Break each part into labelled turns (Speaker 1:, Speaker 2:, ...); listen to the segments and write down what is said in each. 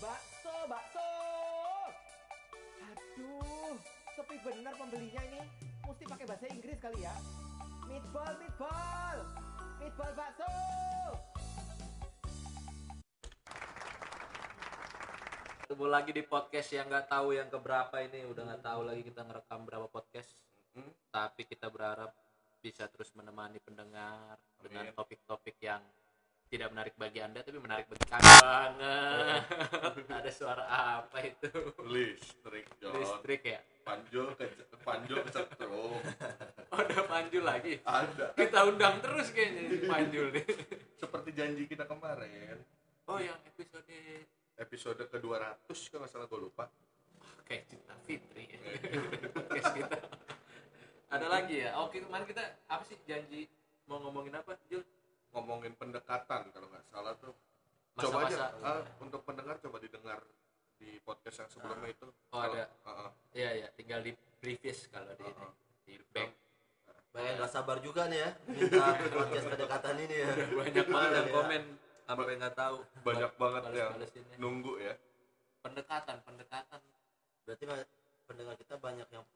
Speaker 1: Bakso, bakso. Aduh, sepi bener pembelinya ini. Mesti pakai bahasa Inggris kali ya. Meatball, meatball. Meatball bakso.
Speaker 2: Ketemu lagi di podcast yang nggak tahu yang keberapa ini udah nggak tahu lagi kita ngerekam berapa podcast. Tapi kita berharap bisa terus menemani pendengar dengan topik-topik yang tidak menarik bagi anda tapi menarik bagi kami banget. Ada suara apa itu?
Speaker 3: listrik John
Speaker 2: Listrik ya?
Speaker 3: panjul ke panjul kecetrum
Speaker 2: Oh, ada panjul lagi.
Speaker 3: ada
Speaker 2: Kita undang terus kayaknya si panjul nih.
Speaker 3: Kan seperti janji kita kemarin
Speaker 2: Oh yang episode
Speaker 3: episode ke 200 kalau nggak salah gue lupa
Speaker 2: kayak cinta Fitri ya. podcast kita. Ada lagi ya? Oke kemarin kita apa sih janji mau ngomongin apa Jul?
Speaker 3: ngomongin pendekatan kalau nggak salah tuh coba aja
Speaker 2: Masa-masa.
Speaker 3: ah, untuk pendengar coba didengar di podcast yang sebelumnya itu
Speaker 2: Oh,
Speaker 3: Kalau-
Speaker 2: ada.
Speaker 3: ah, ah.
Speaker 2: Iya iya, tinggal di previous kalau di
Speaker 3: Uh-uh.
Speaker 2: di back.
Speaker 4: Banyak nggak sabar juga nih ya, minta podcast kedekatan ini ya.
Speaker 2: Banyak banget yang
Speaker 4: Iya.
Speaker 2: komen sampai nggak tahu.
Speaker 3: banyak banget yang
Speaker 2: balesinnya.
Speaker 3: nunggu ya
Speaker 2: pendekatan pendekatan.
Speaker 4: Berarti ma- pendengar kita banyak yang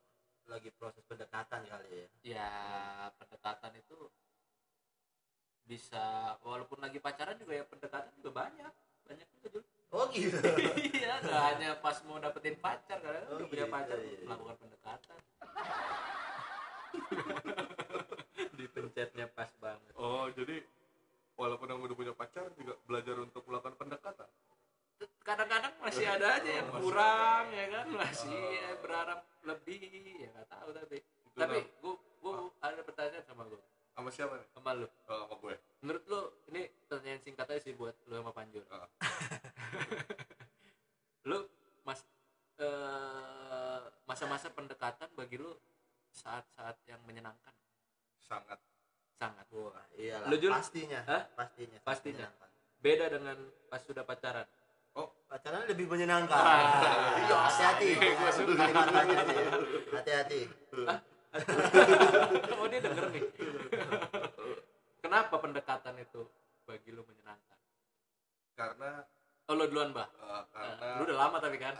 Speaker 4: lagi proses pendekatan kali ya.
Speaker 2: Ya pendekatan itu bisa walaupun lagi pacaran juga ya pendekatan juga banyak banyak juga Jul.
Speaker 4: Oh gitu.
Speaker 2: iya nggak hanya pas mau dapetin pacar karena kan
Speaker 4: Oh,
Speaker 2: udah punya
Speaker 4: gitu,
Speaker 2: pacar
Speaker 4: iya, iya.
Speaker 2: melakukan pendekatan dipencetnya pas banget
Speaker 3: oh jadi walaupun yang udah punya pacar juga belajar untuk melakukan pendekatan
Speaker 2: kadang-kadang masih ada aja yang
Speaker 3: Oh, masih
Speaker 2: kurang ya kan masih eh, berharap lebih ya nggak tahu tapi
Speaker 3: Itu
Speaker 2: tapi
Speaker 3: nam-
Speaker 2: gua gua ada pertanyaan sama gua
Speaker 3: sama siapa nih
Speaker 2: sama lu
Speaker 3: Oh, sama gue
Speaker 2: menurut lu ini pertanyaan singkat aja sih buat lu sama Panjul
Speaker 3: Ah.
Speaker 2: lu mas eh, masa-masa pendekatan bagi lu saat-saat yang menyenangkan
Speaker 3: sangat
Speaker 2: sangat
Speaker 4: Wah, iyalah.
Speaker 2: Lu, Jul?
Speaker 4: pastinya.
Speaker 2: Hah?
Speaker 4: Pastinya.
Speaker 2: Pastinya.
Speaker 4: Menyenangkan.
Speaker 2: beda dengan pas sudah pacaran
Speaker 4: Pacaran lebih menyenangkan.
Speaker 2: Wah.
Speaker 4: Iya, hati-hati.
Speaker 2: Ini Ah. gua suka.
Speaker 4: Kalimat hati-hati. ya. Hati-hati.
Speaker 2: oh dia denger nih kenapa pendekatan itu bagi lu menyenangkan
Speaker 3: karena
Speaker 2: oh lu duluan bah
Speaker 3: eh, karena
Speaker 2: Nah, lu udah lama tapi kan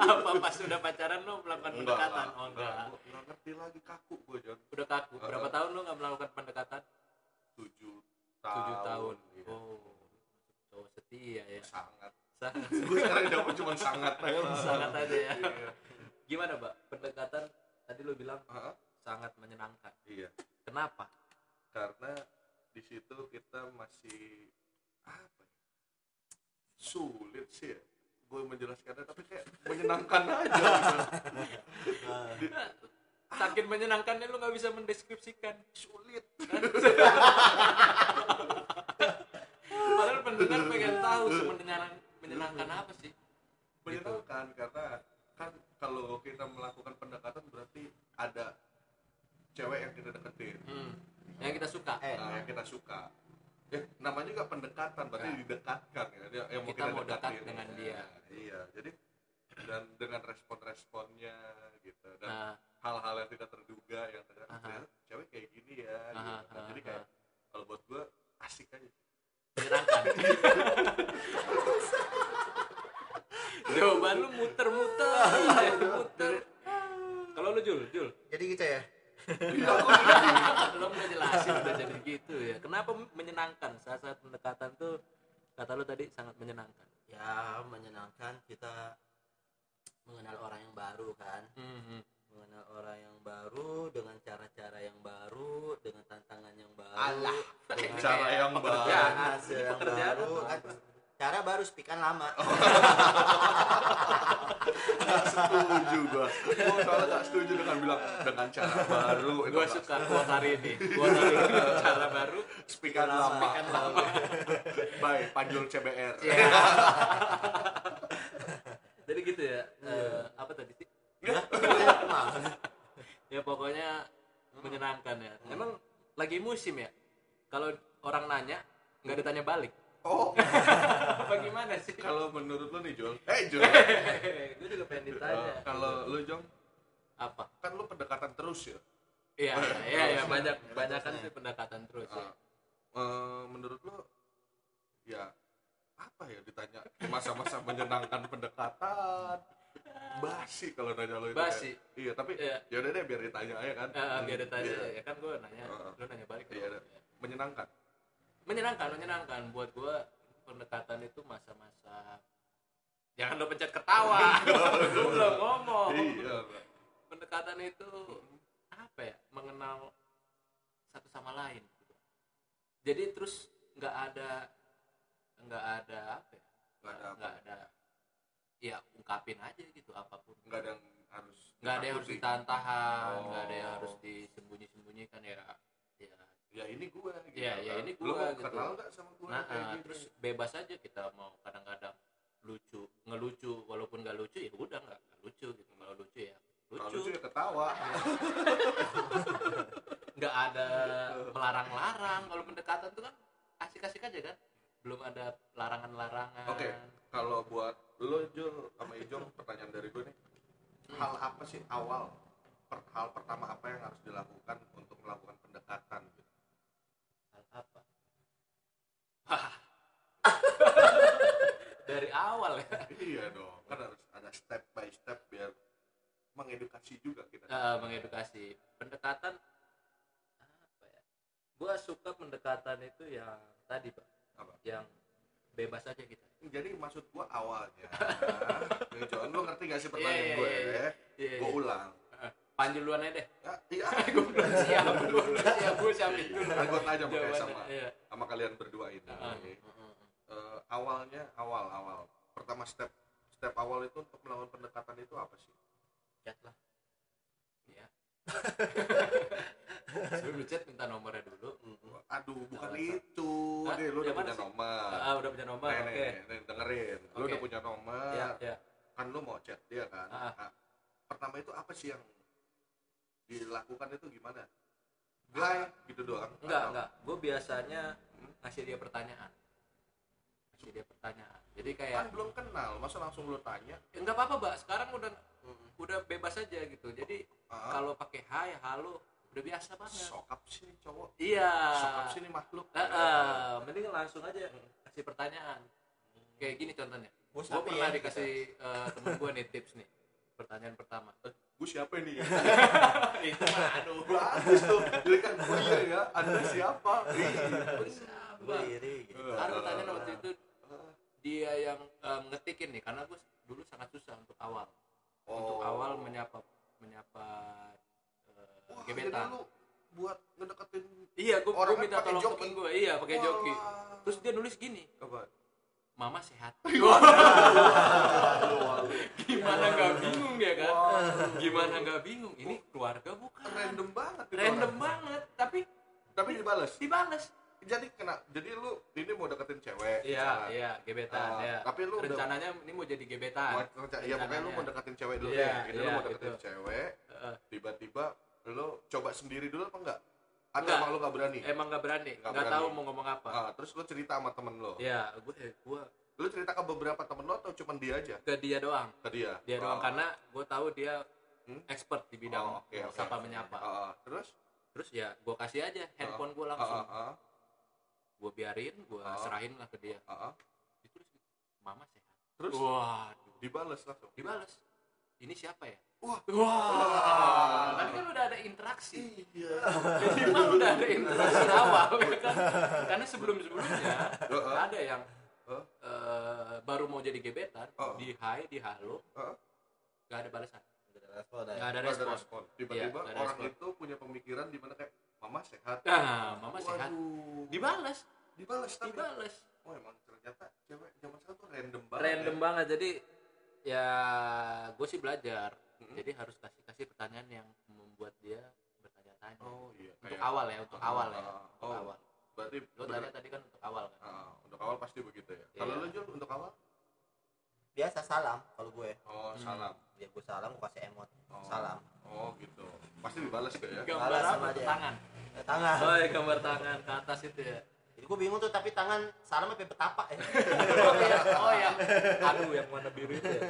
Speaker 2: apa pas udah pacaran lu melakukan
Speaker 3: Enggak
Speaker 2: pendekatan
Speaker 3: lah,
Speaker 2: oh enggak
Speaker 3: Gua nggak ngerti lagi kaku gue John
Speaker 2: udah kaku berapa
Speaker 3: Eh.
Speaker 2: tahun lu nggak melakukan pendekatan
Speaker 3: tujuh tahun
Speaker 2: tujuh tahun
Speaker 3: Iya.
Speaker 2: oh cowok setia ya
Speaker 3: sangat
Speaker 2: sangat
Speaker 3: gue sekarang dapet cuma sangat aja lah.
Speaker 2: sangat aja ya
Speaker 3: iya
Speaker 2: gimana mbak pendekatan tadi lu bilang
Speaker 3: Hah?
Speaker 2: sangat menyenangkan
Speaker 3: iya
Speaker 2: kenapa
Speaker 3: karena di situ kita masih apa ya? sulit sih ya. gue menjelaskannya tapi kayak menyenangkan aja gitu.
Speaker 4: Nah,
Speaker 2: saking menyenangkannya lu nggak bisa mendeskripsikan
Speaker 3: sulit
Speaker 2: padahal pendengar pengen tahu sebenarnya menyenangkan apa sih
Speaker 3: menyenangkan
Speaker 2: Gitu.
Speaker 3: karena kan kalau kita melakukan pendekatan berarti ada cewek yang kita deketin
Speaker 2: hmm. yang kita suka
Speaker 4: eh,
Speaker 3: nah, yang kita suka eh, namanya juga pendekatan berarti
Speaker 2: Nah.
Speaker 3: didekatkan ya dia- yang mau
Speaker 2: Kita mau dekat
Speaker 3: dekatin.
Speaker 2: dengan
Speaker 3: Nah,
Speaker 2: dia.
Speaker 3: iya jadi dan dengan respon-responnya gitu dan
Speaker 2: nah
Speaker 3: hal-hal yang tidak terduga yang ternyata
Speaker 2: Aha.
Speaker 3: ternyata cewek kayak gini ya gitu.
Speaker 2: Aha,
Speaker 3: Nah, jadi
Speaker 2: aha,
Speaker 3: kayak kalau buat gue asik aja
Speaker 2: menyenangkan jawaban lu muter-muter muter kalau lu jul jul
Speaker 4: jadi kita ya.
Speaker 3: Iya.
Speaker 2: lu udah jelasin udah jadi gitu ya kenapa menyenangkan saat saat pendekatan tuh kata lu tadi sangat menyenangkan
Speaker 4: Ya, menyenangkan kita mengenal orang yang baru kan.
Speaker 2: Hmm.
Speaker 4: mengenal orang yang baru dengan cara-cara yang baru dengan tantangan yang baru
Speaker 3: Alah,
Speaker 4: dengan
Speaker 3: cara yang
Speaker 2: pekerjaan.
Speaker 3: baru
Speaker 4: hasil
Speaker 2: Ini
Speaker 4: yang
Speaker 2: pekerjaan
Speaker 4: baru
Speaker 2: apa? Oh.
Speaker 4: kan cara baru spikan lama
Speaker 3: setuju gue gue kalau tak setuju dengan bilang dengan cara baru itu
Speaker 2: gue
Speaker 3: nggak
Speaker 2: suka buat hari ini buat hari ini cara baru
Speaker 3: speaker lama
Speaker 2: Speaker lama. Iya.
Speaker 3: bye panjul CBR
Speaker 2: jadi gitu ya Eh, apa tadi sih
Speaker 4: Iya.
Speaker 2: ya pokoknya menyenangkan ya emang lagi musim ya kalau orang nanya nggak ditanya balik
Speaker 3: oh
Speaker 2: apa gimana sih
Speaker 3: kalau menurut lu nih Jul eh Jul
Speaker 2: gue juga pengen ditanya
Speaker 3: kalau lu Jong
Speaker 2: apa
Speaker 3: kan lu pendekatan terus ya
Speaker 2: iya iya iya banyak banyak kan sih pendekatan terus ya.
Speaker 3: Eh, menurut lu ya apa ya ditanya masa-masa menyenangkan pendekatan basi kalau nanya lo itu kan.
Speaker 2: Basi.
Speaker 3: iya tapi
Speaker 2: Iya.
Speaker 3: ya udah deh biar ditanya aja kan
Speaker 2: Eh, biar ditanya
Speaker 3: Iya.
Speaker 2: ya kan gue nanya,
Speaker 3: Heeh.
Speaker 2: lu nanya balik.
Speaker 3: Iya, ada. menyenangkan
Speaker 2: Menyenangkan, menyenangkan buat gue pendekatan itu masa-masa jangan lo pencet ketawa, gue belum ngomong.
Speaker 3: iya Pak.
Speaker 2: Pendekatan itu apa ya? Mengenal satu sama lain. Jadi terus nggak ada nggak ada apa ya?
Speaker 3: Nggak ada apa.
Speaker 2: nggak ada ya ungkapin aja gitu apapun
Speaker 3: nggak ada yang harus
Speaker 2: nggak ada yang harus
Speaker 3: ditakuti.
Speaker 2: ditahan-tahan
Speaker 3: Oh.
Speaker 2: nggak ada yang harus disembunyi-sembunyikan ya ya
Speaker 3: ya ini gue gitu
Speaker 2: Iya,
Speaker 3: kan.
Speaker 2: ya ini
Speaker 3: Lu
Speaker 2: gua,
Speaker 3: mau
Speaker 2: gitu.
Speaker 3: kenal nggak sama gitu? gue
Speaker 2: nah eh, terus bebas aja kita mau kadang-kadang lucu ngelucu walaupun nggak lucu ya udah nggak nggak lucu gitu kalau lucu ya
Speaker 3: lucu
Speaker 2: lucu
Speaker 3: ya ketawa
Speaker 2: nggak ada
Speaker 3: Gitu.
Speaker 2: melarang-larang kalau pendekatan tuh kan asik-asik aja kan belum ada larangan-larangan
Speaker 3: Oke, kalau buat lo Jul sama Ijong pertanyaan dari gue nih. Hal apa sih awal per- hal pertama apa yang harus dilakukan untuk melakukan pendekatan gitu?
Speaker 2: hal apa Hah. dari awal ya
Speaker 3: iya dong, kan harus ada step by step biar mengedukasi juga kita.
Speaker 2: Eh, mengedukasi pendekatan apa ya gue suka pendekatan itu yang tadi pak
Speaker 3: Apa?
Speaker 2: yang bebas aja gitu. kita
Speaker 3: Jadi maksud gue awalnya. Nih, Jon, lo ngerti gak sih pertanyaan
Speaker 2: Iya, iya,
Speaker 3: gue?
Speaker 2: iya, iya,
Speaker 3: Gue
Speaker 2: iya.
Speaker 3: ulang.
Speaker 2: panjul duluan aja deh
Speaker 3: Ya, iya.
Speaker 2: gue belum siap gue siap gue siapin dulu
Speaker 3: Nah, gue tanya makanya
Speaker 2: Jawabannya,
Speaker 3: sama
Speaker 2: iya.
Speaker 3: sama kalian berdua ini.
Speaker 2: Heeh.
Speaker 3: Eh, awalnya awal awal pertama step step awal itu untuk melakukan pendekatan itu apa sih?
Speaker 2: chat lah ya sebelum chat minta nomornya dulu
Speaker 3: Aduh,
Speaker 2: Apa?
Speaker 3: bukan itu.
Speaker 2: Hah?
Speaker 3: Nih, lu udah
Speaker 2: Yang mana
Speaker 3: punya
Speaker 2: sih?
Speaker 3: nomor.
Speaker 2: Ah, udah punya nomor
Speaker 3: Nih,
Speaker 2: oke
Speaker 3: nih, nih, nih, dengerin. Lu
Speaker 2: Oke.
Speaker 3: udah punya nomor.
Speaker 2: ya ya
Speaker 3: Kan lu mau chat dia kan.
Speaker 2: Ah.
Speaker 3: Nah, pertama itu apa sih yang dilakukan itu gimana? Hai, gitu doang.
Speaker 2: enggak
Speaker 3: Atau-
Speaker 2: enggak gue biasanya ngasih dia pertanyaan ngasih dia pertanyaan jadi kayak
Speaker 3: Kan belum kenal, masa langsung lu tanya?
Speaker 2: Ya, nggak apa-apa mbak sekarang udah udah bebas aja gitu jadi
Speaker 3: Ah.
Speaker 2: kalau pakai hai halo udah biasa banget
Speaker 3: Sokap sih nih cowok.
Speaker 2: iya
Speaker 3: Sokap sih nih makhluk.
Speaker 2: Eh, eh, mending langsung aja kasih pertanyaan kayak gini contohnya
Speaker 4: Oh,
Speaker 2: gue
Speaker 4: sapi
Speaker 2: pernah
Speaker 4: ya,
Speaker 2: dikasih eh, temen gue nih tips nih pertanyaan pertama
Speaker 3: Gue siapa ini?
Speaker 2: itu mah aduh
Speaker 3: Bagus tuh. Jadi kan gue iya ya, Anda siapa? Iya.
Speaker 2: Siapa?
Speaker 3: ya?
Speaker 4: Gue iri gitu.
Speaker 2: karena pertanyaan waktu itu dia yang eh, ngetikin nih karena gue dulu sangat susah untuk awal untuk
Speaker 3: Oh.
Speaker 2: awal menyapa menyapa eh,
Speaker 3: Wah, jadi
Speaker 2: gebetan
Speaker 3: lu buat ngedeketin
Speaker 2: Iya, gue
Speaker 3: Orang kan
Speaker 2: minta
Speaker 3: pakai
Speaker 2: tolong
Speaker 3: joki.
Speaker 2: temen gue. Iya, pakai
Speaker 3: Walah.
Speaker 2: joki. Terus dia nulis gini,
Speaker 3: apa?
Speaker 2: Mama sehat. Gimana nggak bingung dia kan? Gimana nggak bingung? Ini keluarga bukan?
Speaker 3: Random banget. itu
Speaker 2: Random
Speaker 3: orang.
Speaker 2: banget, tapi
Speaker 3: Tapi dibales.
Speaker 2: dibales.
Speaker 3: Jadi kena. Jadi lu ini mau deketin cewek.
Speaker 2: Iya, iya, gebetan.
Speaker 3: Ah,
Speaker 2: ya.
Speaker 3: tapi lu udah-
Speaker 2: rencananya ini mau jadi gebetan.
Speaker 3: Ya pokoknya lu
Speaker 2: Rencananya.
Speaker 3: mau deketin cewek dulu
Speaker 2: Iya,
Speaker 3: ya. Ini lu
Speaker 2: iya,
Speaker 3: mau deketin
Speaker 2: gitu.
Speaker 3: cewek,
Speaker 2: Heeh.
Speaker 3: tiba-tiba lu coba sendiri dulu apa enggak? Atau
Speaker 2: Enggak.
Speaker 3: emang lu gak berani?
Speaker 2: Emang nggak berani,
Speaker 3: Nggak
Speaker 2: nggak
Speaker 3: berani.
Speaker 2: tahu mau ngomong apa.
Speaker 3: Ah, terus lu cerita sama temen lu.
Speaker 2: Ya, gue gue
Speaker 3: Lu cerita ke beberapa temen lu atau cuman dia aja?
Speaker 2: ke dia doang.
Speaker 3: Ke dia.
Speaker 2: Dia doang
Speaker 3: Ah.
Speaker 2: karena gue tahu dia
Speaker 3: Hmm?
Speaker 2: expert di bidang
Speaker 3: Oh, oke, oke.
Speaker 2: sapa menyapa.
Speaker 3: Ah, ah. terus
Speaker 2: Terus ya gue kasih aja handphone gue
Speaker 3: Ah,
Speaker 2: langsung.
Speaker 3: ah, ah.
Speaker 2: gue biarin gue
Speaker 3: Ah.
Speaker 2: serahin lah ke dia
Speaker 3: Ah, ah.
Speaker 2: ditulis gitu, mama sehat
Speaker 3: Terus
Speaker 2: waduh
Speaker 3: Oh. dibales langsung.
Speaker 2: dibales ini siapa ya
Speaker 3: Wah.
Speaker 2: wah tapi kan udah ada interaksi
Speaker 3: Iya.
Speaker 2: minimal udah ada interaksi awal ya kan karena sebelum sebelumnya
Speaker 3: Heeh.
Speaker 2: ada yang
Speaker 3: Heeh.
Speaker 2: eh, baru mau jadi gebetan
Speaker 3: Heeh.
Speaker 2: di hai di halo
Speaker 3: Heeh.
Speaker 2: gak ada balasan
Speaker 4: Udah respon dah ya.
Speaker 2: gak ada
Speaker 3: Nggak Uh-uh. ada
Speaker 2: respon
Speaker 3: respon. Tiba-tiba
Speaker 2: Iya, nggak ada
Speaker 3: orang
Speaker 2: respon.
Speaker 3: itu punya pemikiran di mana kayak mama sehat.
Speaker 2: nah mama sehat
Speaker 3: Waduh.
Speaker 2: dibales
Speaker 3: Dibales tapi.
Speaker 2: dibales
Speaker 3: Oh emang ternyata cewek zaman sekarang tuh random banget.
Speaker 2: random
Speaker 3: ya.
Speaker 2: banget jadi ya gue sih belajar
Speaker 3: Mm-mm.
Speaker 2: jadi harus kasih kasih pertanyaan yang membuat dia bertanya-tanya
Speaker 3: Oh iya.
Speaker 2: untuk
Speaker 3: Kayak-
Speaker 2: awal ya untuk awal ya
Speaker 3: Ah,
Speaker 2: untuk
Speaker 3: oh.
Speaker 2: awal
Speaker 3: Berarti
Speaker 2: lo
Speaker 3: bener-
Speaker 2: tanya tadi kan untuk awal kan
Speaker 3: Ah, untuk awal pasti begitu ya. Kalau
Speaker 2: Iya.
Speaker 3: lu Jul untuk awal?
Speaker 4: Biasa salam kalau gue.
Speaker 3: Oh
Speaker 2: Hmm.
Speaker 3: salam.
Speaker 4: Ya gue salam gue kasih emot.
Speaker 3: Oh.
Speaker 4: Salam.
Speaker 3: Oh gitu. Pasti dibales deh ya.
Speaker 2: gambar
Speaker 4: Balas
Speaker 2: apa
Speaker 4: sama dia.
Speaker 2: tangan
Speaker 4: Eh, tangan.
Speaker 2: oh iya, gambar tangan ke atas itu ya
Speaker 4: Jadi gue bingung tuh tapi tangan salamnya sampai petapak ya.
Speaker 2: oh iya oh yang aduh yang warna biru itu ya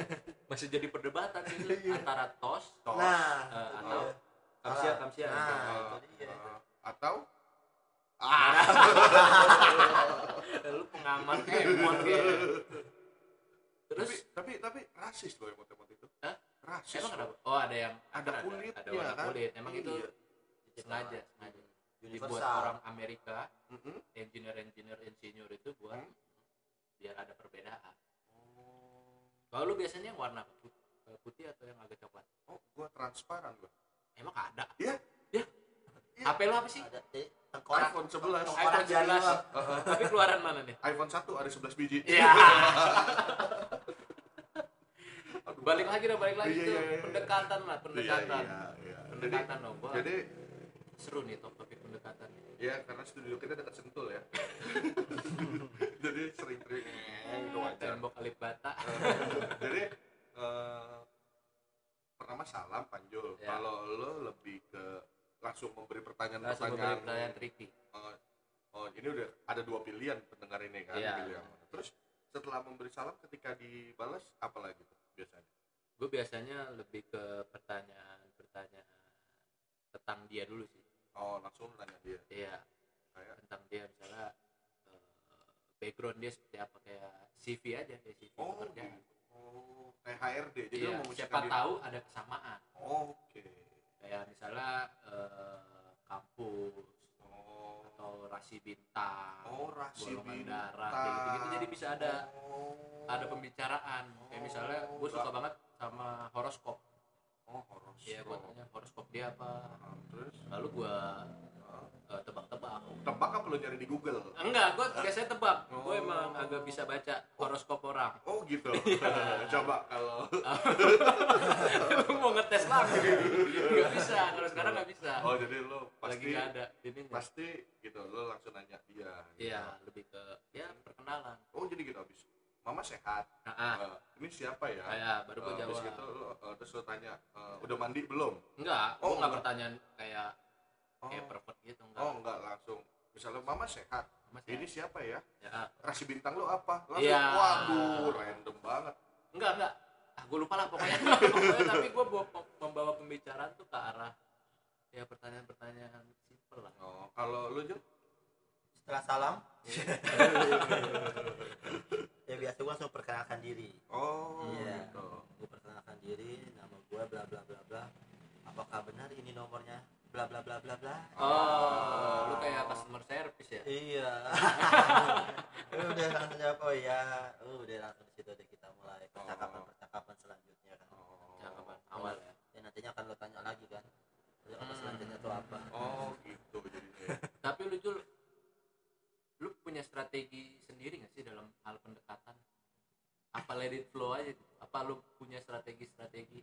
Speaker 2: masih jadi perdebatan sih antara tos
Speaker 3: Tos.
Speaker 4: nah,
Speaker 2: eh,
Speaker 4: itu
Speaker 2: atau
Speaker 4: dia.
Speaker 2: kamsia gitu.
Speaker 4: Salam.
Speaker 2: kamsia
Speaker 4: Nah,
Speaker 3: Ah,
Speaker 4: itu dia.
Speaker 3: ah. atau Ah,
Speaker 2: lu pengaman Emon kayaknya. Terus
Speaker 3: tapi, tapi tapi rasis loh emot-emot itu.
Speaker 2: Hah?
Speaker 3: Rasis.
Speaker 2: emang
Speaker 3: loh.
Speaker 2: kenapa? Oh ada yang
Speaker 3: Ada
Speaker 2: ada-
Speaker 3: kulit,
Speaker 2: ada
Speaker 3: iya
Speaker 2: warna
Speaker 3: kan?
Speaker 2: kulit. Emang itu
Speaker 3: Iya.
Speaker 2: sengaja, sengaja. Dibuat
Speaker 4: universal
Speaker 2: orang Amerika,
Speaker 3: Mm-mm.
Speaker 2: engineer-engineer insinyur itu buat
Speaker 3: Hmm.
Speaker 2: biar ada perbedaan. Kalau lu biasanya yang warna put- putih atau yang agak coklat?
Speaker 3: Oh, gua transparan gua.
Speaker 2: Emang ada?
Speaker 3: Iya.
Speaker 2: Ya.
Speaker 3: Iya.
Speaker 2: HP lu apa sih?
Speaker 4: ada eh, tengkorak
Speaker 3: iPhone 11.
Speaker 4: Tengkorak
Speaker 2: iPhone
Speaker 4: jari
Speaker 2: 11.
Speaker 4: doang.
Speaker 2: Tapi keluaran mana nih?
Speaker 3: iPhone 1 ada 11 biji.
Speaker 2: Uh-huh. Iya.
Speaker 3: Aduh.
Speaker 2: balik lagi dong, balik lagi
Speaker 3: Iya,
Speaker 2: tuh.
Speaker 3: iya, iya.
Speaker 2: Pendekatan lah,
Speaker 3: Iya,
Speaker 2: pendekatan.
Speaker 3: iya, iya. Jadi
Speaker 2: Pendekatan dong, gua.
Speaker 3: jadi
Speaker 2: Seru nih top topik pendekatan.
Speaker 3: ya karena studio kita dekat Sentul ya. jadi sering-sering
Speaker 2: Eh,
Speaker 3: Eh, itu wajar.
Speaker 2: Tembok alif bata.
Speaker 3: jadi eh, pertama salam panjul
Speaker 2: Ya.
Speaker 3: kalau lo lebih ke langsung memberi pertanyaan
Speaker 2: Langsung
Speaker 3: pertanyaan
Speaker 2: beberapa pertanyaan tricky.
Speaker 3: eh, oh, ini udah ada dua pilihan pendengar ini kan
Speaker 2: Iya.
Speaker 3: pilih yang mana. terus setelah memberi salam ketika dibalas apa lagi tuh biasanya
Speaker 2: Gue biasanya lebih ke pertanyaan-pertanyaan tentang dia dulu sih.
Speaker 3: oh langsung nanya dia
Speaker 2: Iya,
Speaker 3: kayak
Speaker 2: tentang dia misalnya eh, background dia seperti apa kayak CV aja kayak CV
Speaker 3: oh
Speaker 2: pekerjaan.
Speaker 3: gitu. oh kayak HRD jadi
Speaker 2: Iya,
Speaker 3: lo mau
Speaker 2: siapa
Speaker 3: mencari-
Speaker 2: tahu ada kesamaan.
Speaker 3: oh, oke
Speaker 2: Kayak misalnya eh, kampus
Speaker 3: oh
Speaker 2: atau rasi bintang,
Speaker 3: oh rasi
Speaker 2: golongan
Speaker 3: bintang
Speaker 2: darah, kayak gitu-gitu. Jadi bisa ada
Speaker 3: oh.
Speaker 2: ada pembicaraan. Kayak misalnya gue suka banget sama horoskop.
Speaker 3: oh horoskop
Speaker 2: Iya, gue tanya horoskop dia apa.
Speaker 3: Ah, terus
Speaker 2: Lalu gue
Speaker 3: ah.
Speaker 2: tebak-tebak.
Speaker 3: tebak apa lo nyari di Google
Speaker 2: Enggak, gue biasanya tebak. Gue
Speaker 3: Oh.
Speaker 2: emang agak bisa baca horoskop orang.
Speaker 3: oh gitu coba kalau
Speaker 2: Iya. Lu mau ngetes lagi? Gak bisa, kalau sekarang gak bisa.
Speaker 3: oh jadi lo
Speaker 2: Lagi
Speaker 3: pasti
Speaker 2: gak ada. Ini nggak.
Speaker 3: pasti gitu lo langsung nanya iya gitu.
Speaker 2: Iya, lebih ke ya perkenalan.
Speaker 3: oh jadi gitu abis mama sehat
Speaker 2: Nah, ah, Oh,
Speaker 3: Eh, ini siapa ya
Speaker 2: kayak baru gue
Speaker 3: Eh,
Speaker 2: jawab.
Speaker 3: abis gitu lo eh, terus lo tanya eh, udah mandi belum
Speaker 2: Enggak, gue
Speaker 3: Oh,
Speaker 2: nggak
Speaker 3: enggak.
Speaker 2: pertanyaan kayak
Speaker 3: oh,
Speaker 2: kayak pervert gitu enggak.
Speaker 3: oh enggak langsung misalnya mama sehat
Speaker 2: Mas,
Speaker 3: ini siapa ya
Speaker 2: ya, ah.
Speaker 3: rasi bintang lo apa langsung
Speaker 2: Iya.
Speaker 3: waduh random banget
Speaker 2: Enggak, enggak. Ah, gue lupa lah pokoknya. pokoknya tapi gue membawa pembicaraan tuh ke arah ya pertanyaan-pertanyaan simpel lah.
Speaker 3: oh kalau lo Jul?
Speaker 4: setelah salam ya biasa gua langsung perkenalkan diri
Speaker 3: oh
Speaker 4: Iya.
Speaker 3: gitu
Speaker 4: gue perkenalkan diri nama gue bla bla bla bla apakah benar ini nomornya bla bla bla bla bla
Speaker 2: Oh, lu kayak customer service ya?
Speaker 4: iya udah langsung jawab oh iya udah langsung di situ deh kita mulai percakapan percakapan selanjutnya kan
Speaker 3: oh.
Speaker 2: Cakapan awal ya.
Speaker 4: ya nantinya akan lo tanya lagi kan Lo apa selanjutnya tuh apa
Speaker 3: oh gitu jadinya
Speaker 2: Tapi lu Jul, lu punya strategi sendiri nggak sih dalam hal pendekatan? Apa let it flow aja? gitu? Apa lu punya strategi-strategi?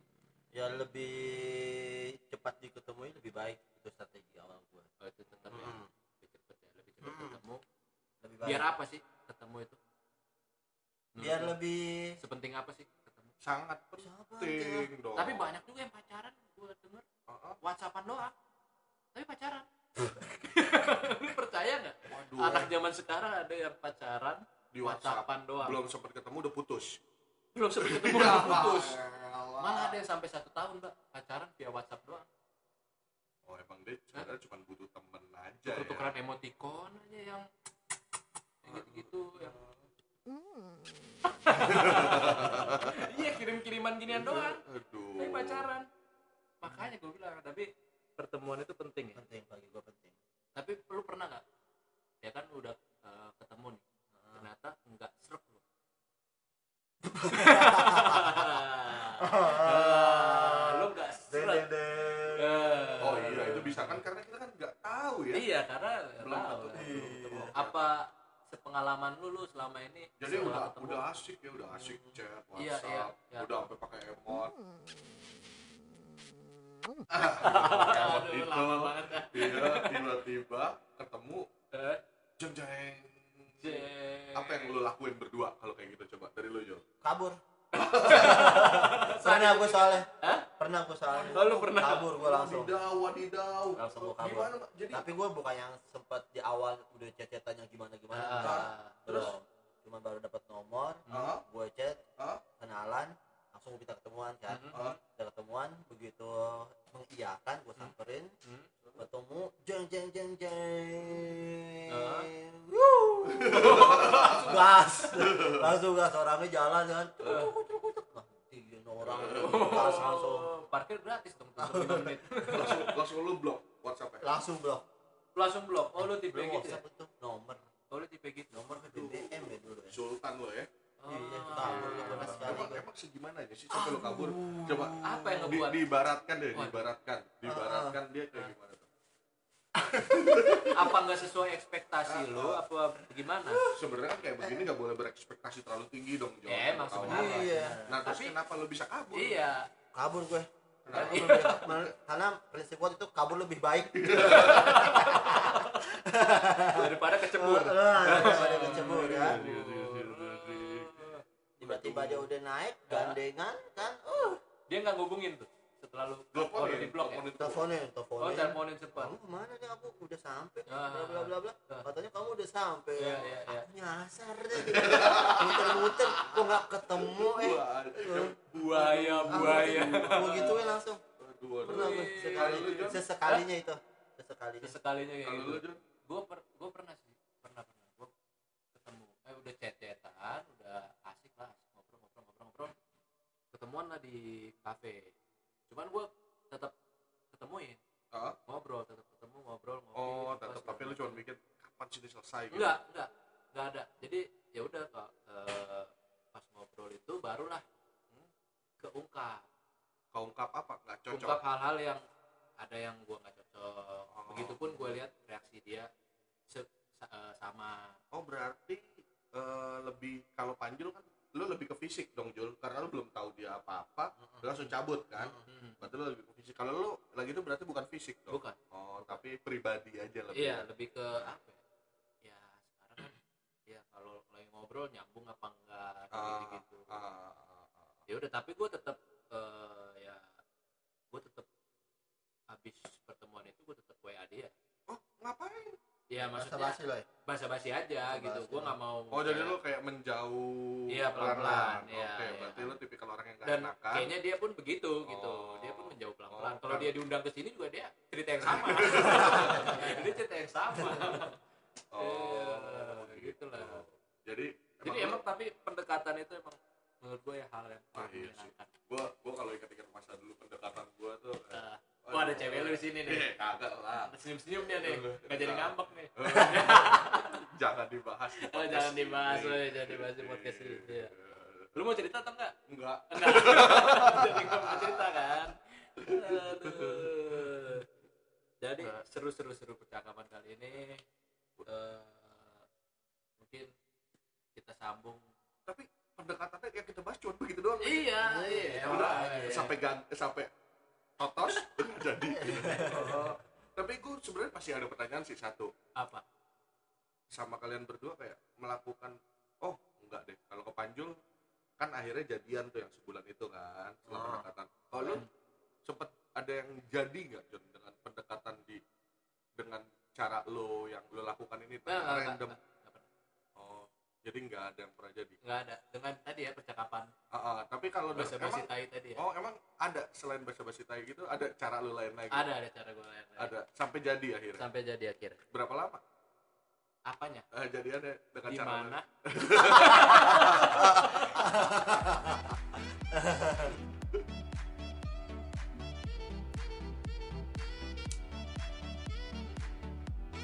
Speaker 4: ya lebih cepat diketemui lebih baik itu strategi awal gue
Speaker 2: Oh, itu tetap ya,
Speaker 3: Hmm.
Speaker 4: Mm.
Speaker 2: lebih cepet ya, lebih cepet
Speaker 4: Mm.
Speaker 2: ketemu.
Speaker 4: lebih baik
Speaker 2: Biar Hmm. apa sih ketemu itu? Menurut
Speaker 4: biar
Speaker 2: lu,
Speaker 4: lebih
Speaker 2: sepenting apa sih ketemu?
Speaker 3: sangat
Speaker 4: penting.
Speaker 3: penting dong
Speaker 2: Tapi banyak juga yang pacaran gua denger
Speaker 3: Heeh.
Speaker 2: WhatsAppan doang. Tapi pacaran. lu percaya nggak?
Speaker 3: waduh
Speaker 2: Anak zaman sekarang ada yang pacaran
Speaker 3: di WhatsApp
Speaker 2: WhatsAppan doang.
Speaker 3: belum sempat ketemu udah putus
Speaker 2: belum sempat ketemu udah putus
Speaker 3: Elah.
Speaker 2: malah ada yang sampai satu tahun mbak pacaran via WhatsApp doang
Speaker 3: oh emang dia sebenarnya cuma butuh temen aja
Speaker 2: tuker
Speaker 3: ya
Speaker 2: tukeran emoticon aja yang gitu gitu yang iya kirim kiriman ginian doang
Speaker 3: aduh
Speaker 2: tapi pacaran makanya gue bilang tapi pertemuan itu penting ya
Speaker 4: penting bagi gue penting
Speaker 2: tapi lu pernah nggak ya kan udah eh, ketemu nih ternyata nggak serak lu Ah, lu nggak serak Eh,
Speaker 3: oh iya itu bisa kan karena kita kan nggak tahu ya
Speaker 2: Iya, karena
Speaker 3: belum
Speaker 2: tahu
Speaker 3: ketemu,
Speaker 2: lah.
Speaker 3: belum ketemu.
Speaker 2: apa sepengalaman lu lu selama ini
Speaker 3: jadi
Speaker 2: setelah
Speaker 3: udah
Speaker 2: ketemu?
Speaker 3: udah asik ya udah asik chat WhatsApp
Speaker 2: Iya, iya, iya.
Speaker 3: udah sampai pakai emot
Speaker 2: Aduh,
Speaker 3: emot itu
Speaker 2: lama banget ah.
Speaker 3: iya tiba-tiba ketemu
Speaker 2: Eh,
Speaker 3: jeng jeng
Speaker 2: jeng.
Speaker 3: apa yang lu lakuin berdua kalau kayak gitu coba dari lu Jol
Speaker 4: kabur pernah gue soalnya
Speaker 2: Hah?
Speaker 4: pernah gue soalnya
Speaker 2: Oh, lu pernah?
Speaker 4: kabur gue langsung
Speaker 3: wadidaw wadidaw
Speaker 4: Langsung gua kabur. Nah.
Speaker 3: gimana Pak? jadi
Speaker 4: tapi gue bukan yang sempat di awal udah chat-chatan yang gimana gimana
Speaker 2: Ah.
Speaker 4: terus cuma baru dapat nomor
Speaker 3: Ah,
Speaker 4: gue chat
Speaker 3: ah,
Speaker 4: kenalan langsung gua minta ketemuan kan
Speaker 2: Mhm.
Speaker 3: ah.
Speaker 4: minta ketemuan begitu mengiyakan gue samperin
Speaker 2: Hmm.
Speaker 4: terus ketemu jeng jeng jeng jeng
Speaker 2: Ah.
Speaker 4: Wuh. gas langsung gas orangnya jalan kan Cukup, cukup, cukup. Wah, tiga orang gas langsung
Speaker 2: Oh, parkir gratis dong tuh 5 menit
Speaker 3: langsung langsung lu blok WhatsApp ya
Speaker 4: langsung blok
Speaker 2: langsung blok oh lu tipe gitu
Speaker 4: Belum
Speaker 2: ya
Speaker 4: WhatsApp itu nomor
Speaker 2: oh lu tipe gitu
Speaker 4: nomor ke DM ya dulu ya
Speaker 3: Sultan lo ya
Speaker 2: Oh.
Speaker 4: Iya, kabur lu bener sekali.
Speaker 3: emang emang segimana ya sih sampai lu kabur coba
Speaker 2: apa yang
Speaker 3: di,
Speaker 2: ngebuat Ah.
Speaker 3: diibaratkan deh
Speaker 2: Waduh.
Speaker 3: diibaratkan diibaratkan dia kayak gimana tuh?
Speaker 2: apa nggak sesuai ekspektasi lu
Speaker 3: Iya.
Speaker 2: apa gimana
Speaker 3: sebenarnya kan kayak begini nggak boleh berekspektasi terlalu tinggi dong Jon.
Speaker 2: Ya, emang
Speaker 3: Kawan.
Speaker 2: sebenarnya.
Speaker 4: Iya.
Speaker 3: nah terus
Speaker 2: Tapi-
Speaker 3: kenapa lu bisa kabur
Speaker 2: iya
Speaker 4: kabur gue karena,
Speaker 3: Kenapa?
Speaker 4: gue lebih- Nah, iya. karena prinsip gue itu kabur lebih baik
Speaker 2: daripada kecebur
Speaker 4: Nah, daripada kecebur kan tiba-tiba dia udah naik gandengan kan uh
Speaker 2: dia nggak ngubungin tuh setelah lu
Speaker 3: telepon
Speaker 2: kalau
Speaker 3: ya
Speaker 2: di blok ya
Speaker 3: teleponin
Speaker 2: oh
Speaker 3: tuh.
Speaker 4: teleponin teleponin
Speaker 2: teleponin cepat
Speaker 4: kamu kemana nih aku udah sampai nih,
Speaker 2: Ah.
Speaker 4: bla bla bla bla
Speaker 2: Ah.
Speaker 4: katanya kamu udah sampai
Speaker 2: Iya, iya, iya.
Speaker 4: aku nyasar deh gitu. muter-muter kok nggak ketemu eh
Speaker 3: Wah,
Speaker 2: buaya buaya
Speaker 4: gue gituin langsung
Speaker 3: aduh, aduh.
Speaker 4: pernah gue
Speaker 2: Wih.
Speaker 4: sekali
Speaker 3: Kalau lu, Jon?
Speaker 4: sesekalinya itu sesekalinya
Speaker 2: sekalinya kayak
Speaker 3: Kalau
Speaker 2: gitu
Speaker 3: lu Jon?
Speaker 2: gue per, gue pernah sih pernah pernah gue ketemu eh udah chat chatan udah asik lah asik ngobrol ngobrol ngobrol ngobrol ketemuan lah di kafe cuman gue tetap ketemuin
Speaker 3: Ah,
Speaker 2: ngobrol tetap ketemu ngobrol ngopi
Speaker 3: oh
Speaker 2: gitu,
Speaker 3: tetap
Speaker 2: pas
Speaker 3: tapi lu cuma mikir kapan sih ini selesai gitu
Speaker 2: enggak enggak enggak ada jadi ya udah kak eh, pas ngobrol itu barulah
Speaker 3: Hmm?
Speaker 2: keungkap
Speaker 3: kau ungkap apa nggak cocok
Speaker 2: ungkap hal-hal yang ada yang gua nggak cocok
Speaker 3: Oh.
Speaker 2: begitupun gua lihat reaksi dia se- sa- eh, sama
Speaker 3: oh berarti eh, lebih kalau panjul kan lu lebih ke fisik dong Jul karena lu belum tahu dia apa-apa lu langsung cabut kan
Speaker 2: Hmm,
Speaker 3: berarti lu lebih ke fisik kalau lu lagi itu berarti bukan fisik dong
Speaker 2: bukan
Speaker 3: oh tapi pribadi aja lebih
Speaker 2: iya lebih ke apa ya ya sekarang kan ya kalau lagi ngobrol nyambung apa enggak
Speaker 3: Ah,
Speaker 2: gitu gitu
Speaker 3: Ah, ah, ah, ah.
Speaker 2: ya udah tapi gue tetap eh, ya gue tetap habis pertemuan itu gue tetap wa dia
Speaker 3: oh ngapain
Speaker 2: ya maksudnya
Speaker 4: basi loh ya.
Speaker 2: basa-basi aja
Speaker 4: Basa-basi.
Speaker 2: gitu gue nggak mau
Speaker 3: oh jadi
Speaker 2: kayak-
Speaker 3: lu kayak menjauh
Speaker 2: Iya, pelan-pelan.
Speaker 3: oke
Speaker 2: Iya, iya.
Speaker 3: berarti lu tipikal orang yang nggak
Speaker 2: dan
Speaker 3: enakan
Speaker 2: kayaknya dia pun begitu gitu
Speaker 3: kan. Oh.
Speaker 2: dia pun menjauh pelan-pelan
Speaker 3: Oh,
Speaker 2: kalau
Speaker 3: kan.
Speaker 2: dia diundang ke sini juga dia cerita yang sama dia cerita yang sama
Speaker 3: oh
Speaker 2: Iya, gitu lah.
Speaker 3: jadi
Speaker 2: jadi emang tapi pendekatan itu emang menurut gue ya hal yang
Speaker 3: Ah,
Speaker 2: paling
Speaker 3: iya sih.
Speaker 2: menyenangkan
Speaker 3: gua gua kalau ingat-ingat masa dulu pendekatan gua tuh eh,
Speaker 2: Eh, oh ada cewek lu di sini nih
Speaker 3: Eh, kagak lah.
Speaker 2: senyum-senyum dia nih nggak
Speaker 3: Nah.
Speaker 2: jadi ngambek nih
Speaker 3: Eh. jangan dibahas. di
Speaker 2: Oh,
Speaker 3: podcast
Speaker 2: jangan dibahas,
Speaker 3: ini.
Speaker 2: woy, jangan dibahas di podcast ini, iya. lu mau cerita atau enggak
Speaker 3: Enggak.
Speaker 2: enggak jadi nggak mau cerita kan Aduh. jadi
Speaker 3: Nah.
Speaker 2: seru-seru seru percakapan kali ini Eh, mungkin kita sambung
Speaker 3: Tapi pendekatannya yang kita bahas cuma begitu doang.
Speaker 2: Iya, iya.
Speaker 3: Ya udah, sampai gan sampai totos nggak jadi. Oh, Tapi gue sebenarnya pasti ada pertanyaan sih satu
Speaker 2: apa?
Speaker 3: sama kalian berdua kayak melakukan oh enggak deh kalau ke Panjul kan akhirnya jadian tuh yang sebulan itu kan setelah
Speaker 4: Ah.
Speaker 3: pendekatan. Oh lu sempet ada yang jadi nggak Jon dengan pendekatan di dengan cara lo yang lo lakukan ini
Speaker 2: Enggak, enggak,
Speaker 3: random?
Speaker 2: enggak, enggak pernah.
Speaker 3: Oh jadi nggak ada yang pernah jadi.
Speaker 2: Enggak ada. Dengan tadi ya percakapan
Speaker 3: Ah, ah, tapi kalau
Speaker 2: bahasa
Speaker 3: emang-
Speaker 2: basi tai tadi ya.
Speaker 3: Oh emang ada selain basa-basi tai gitu ada cara lu lain lagi?
Speaker 2: Ada ada cara gue lain.
Speaker 3: iya. Ada sampai jadi akhirnya.
Speaker 2: Sampai jadi akhirnya.
Speaker 3: Berapa lama?
Speaker 2: Apanya?
Speaker 3: Eh, jadiannya dengan
Speaker 2: Di
Speaker 3: cara lu?
Speaker 2: mana?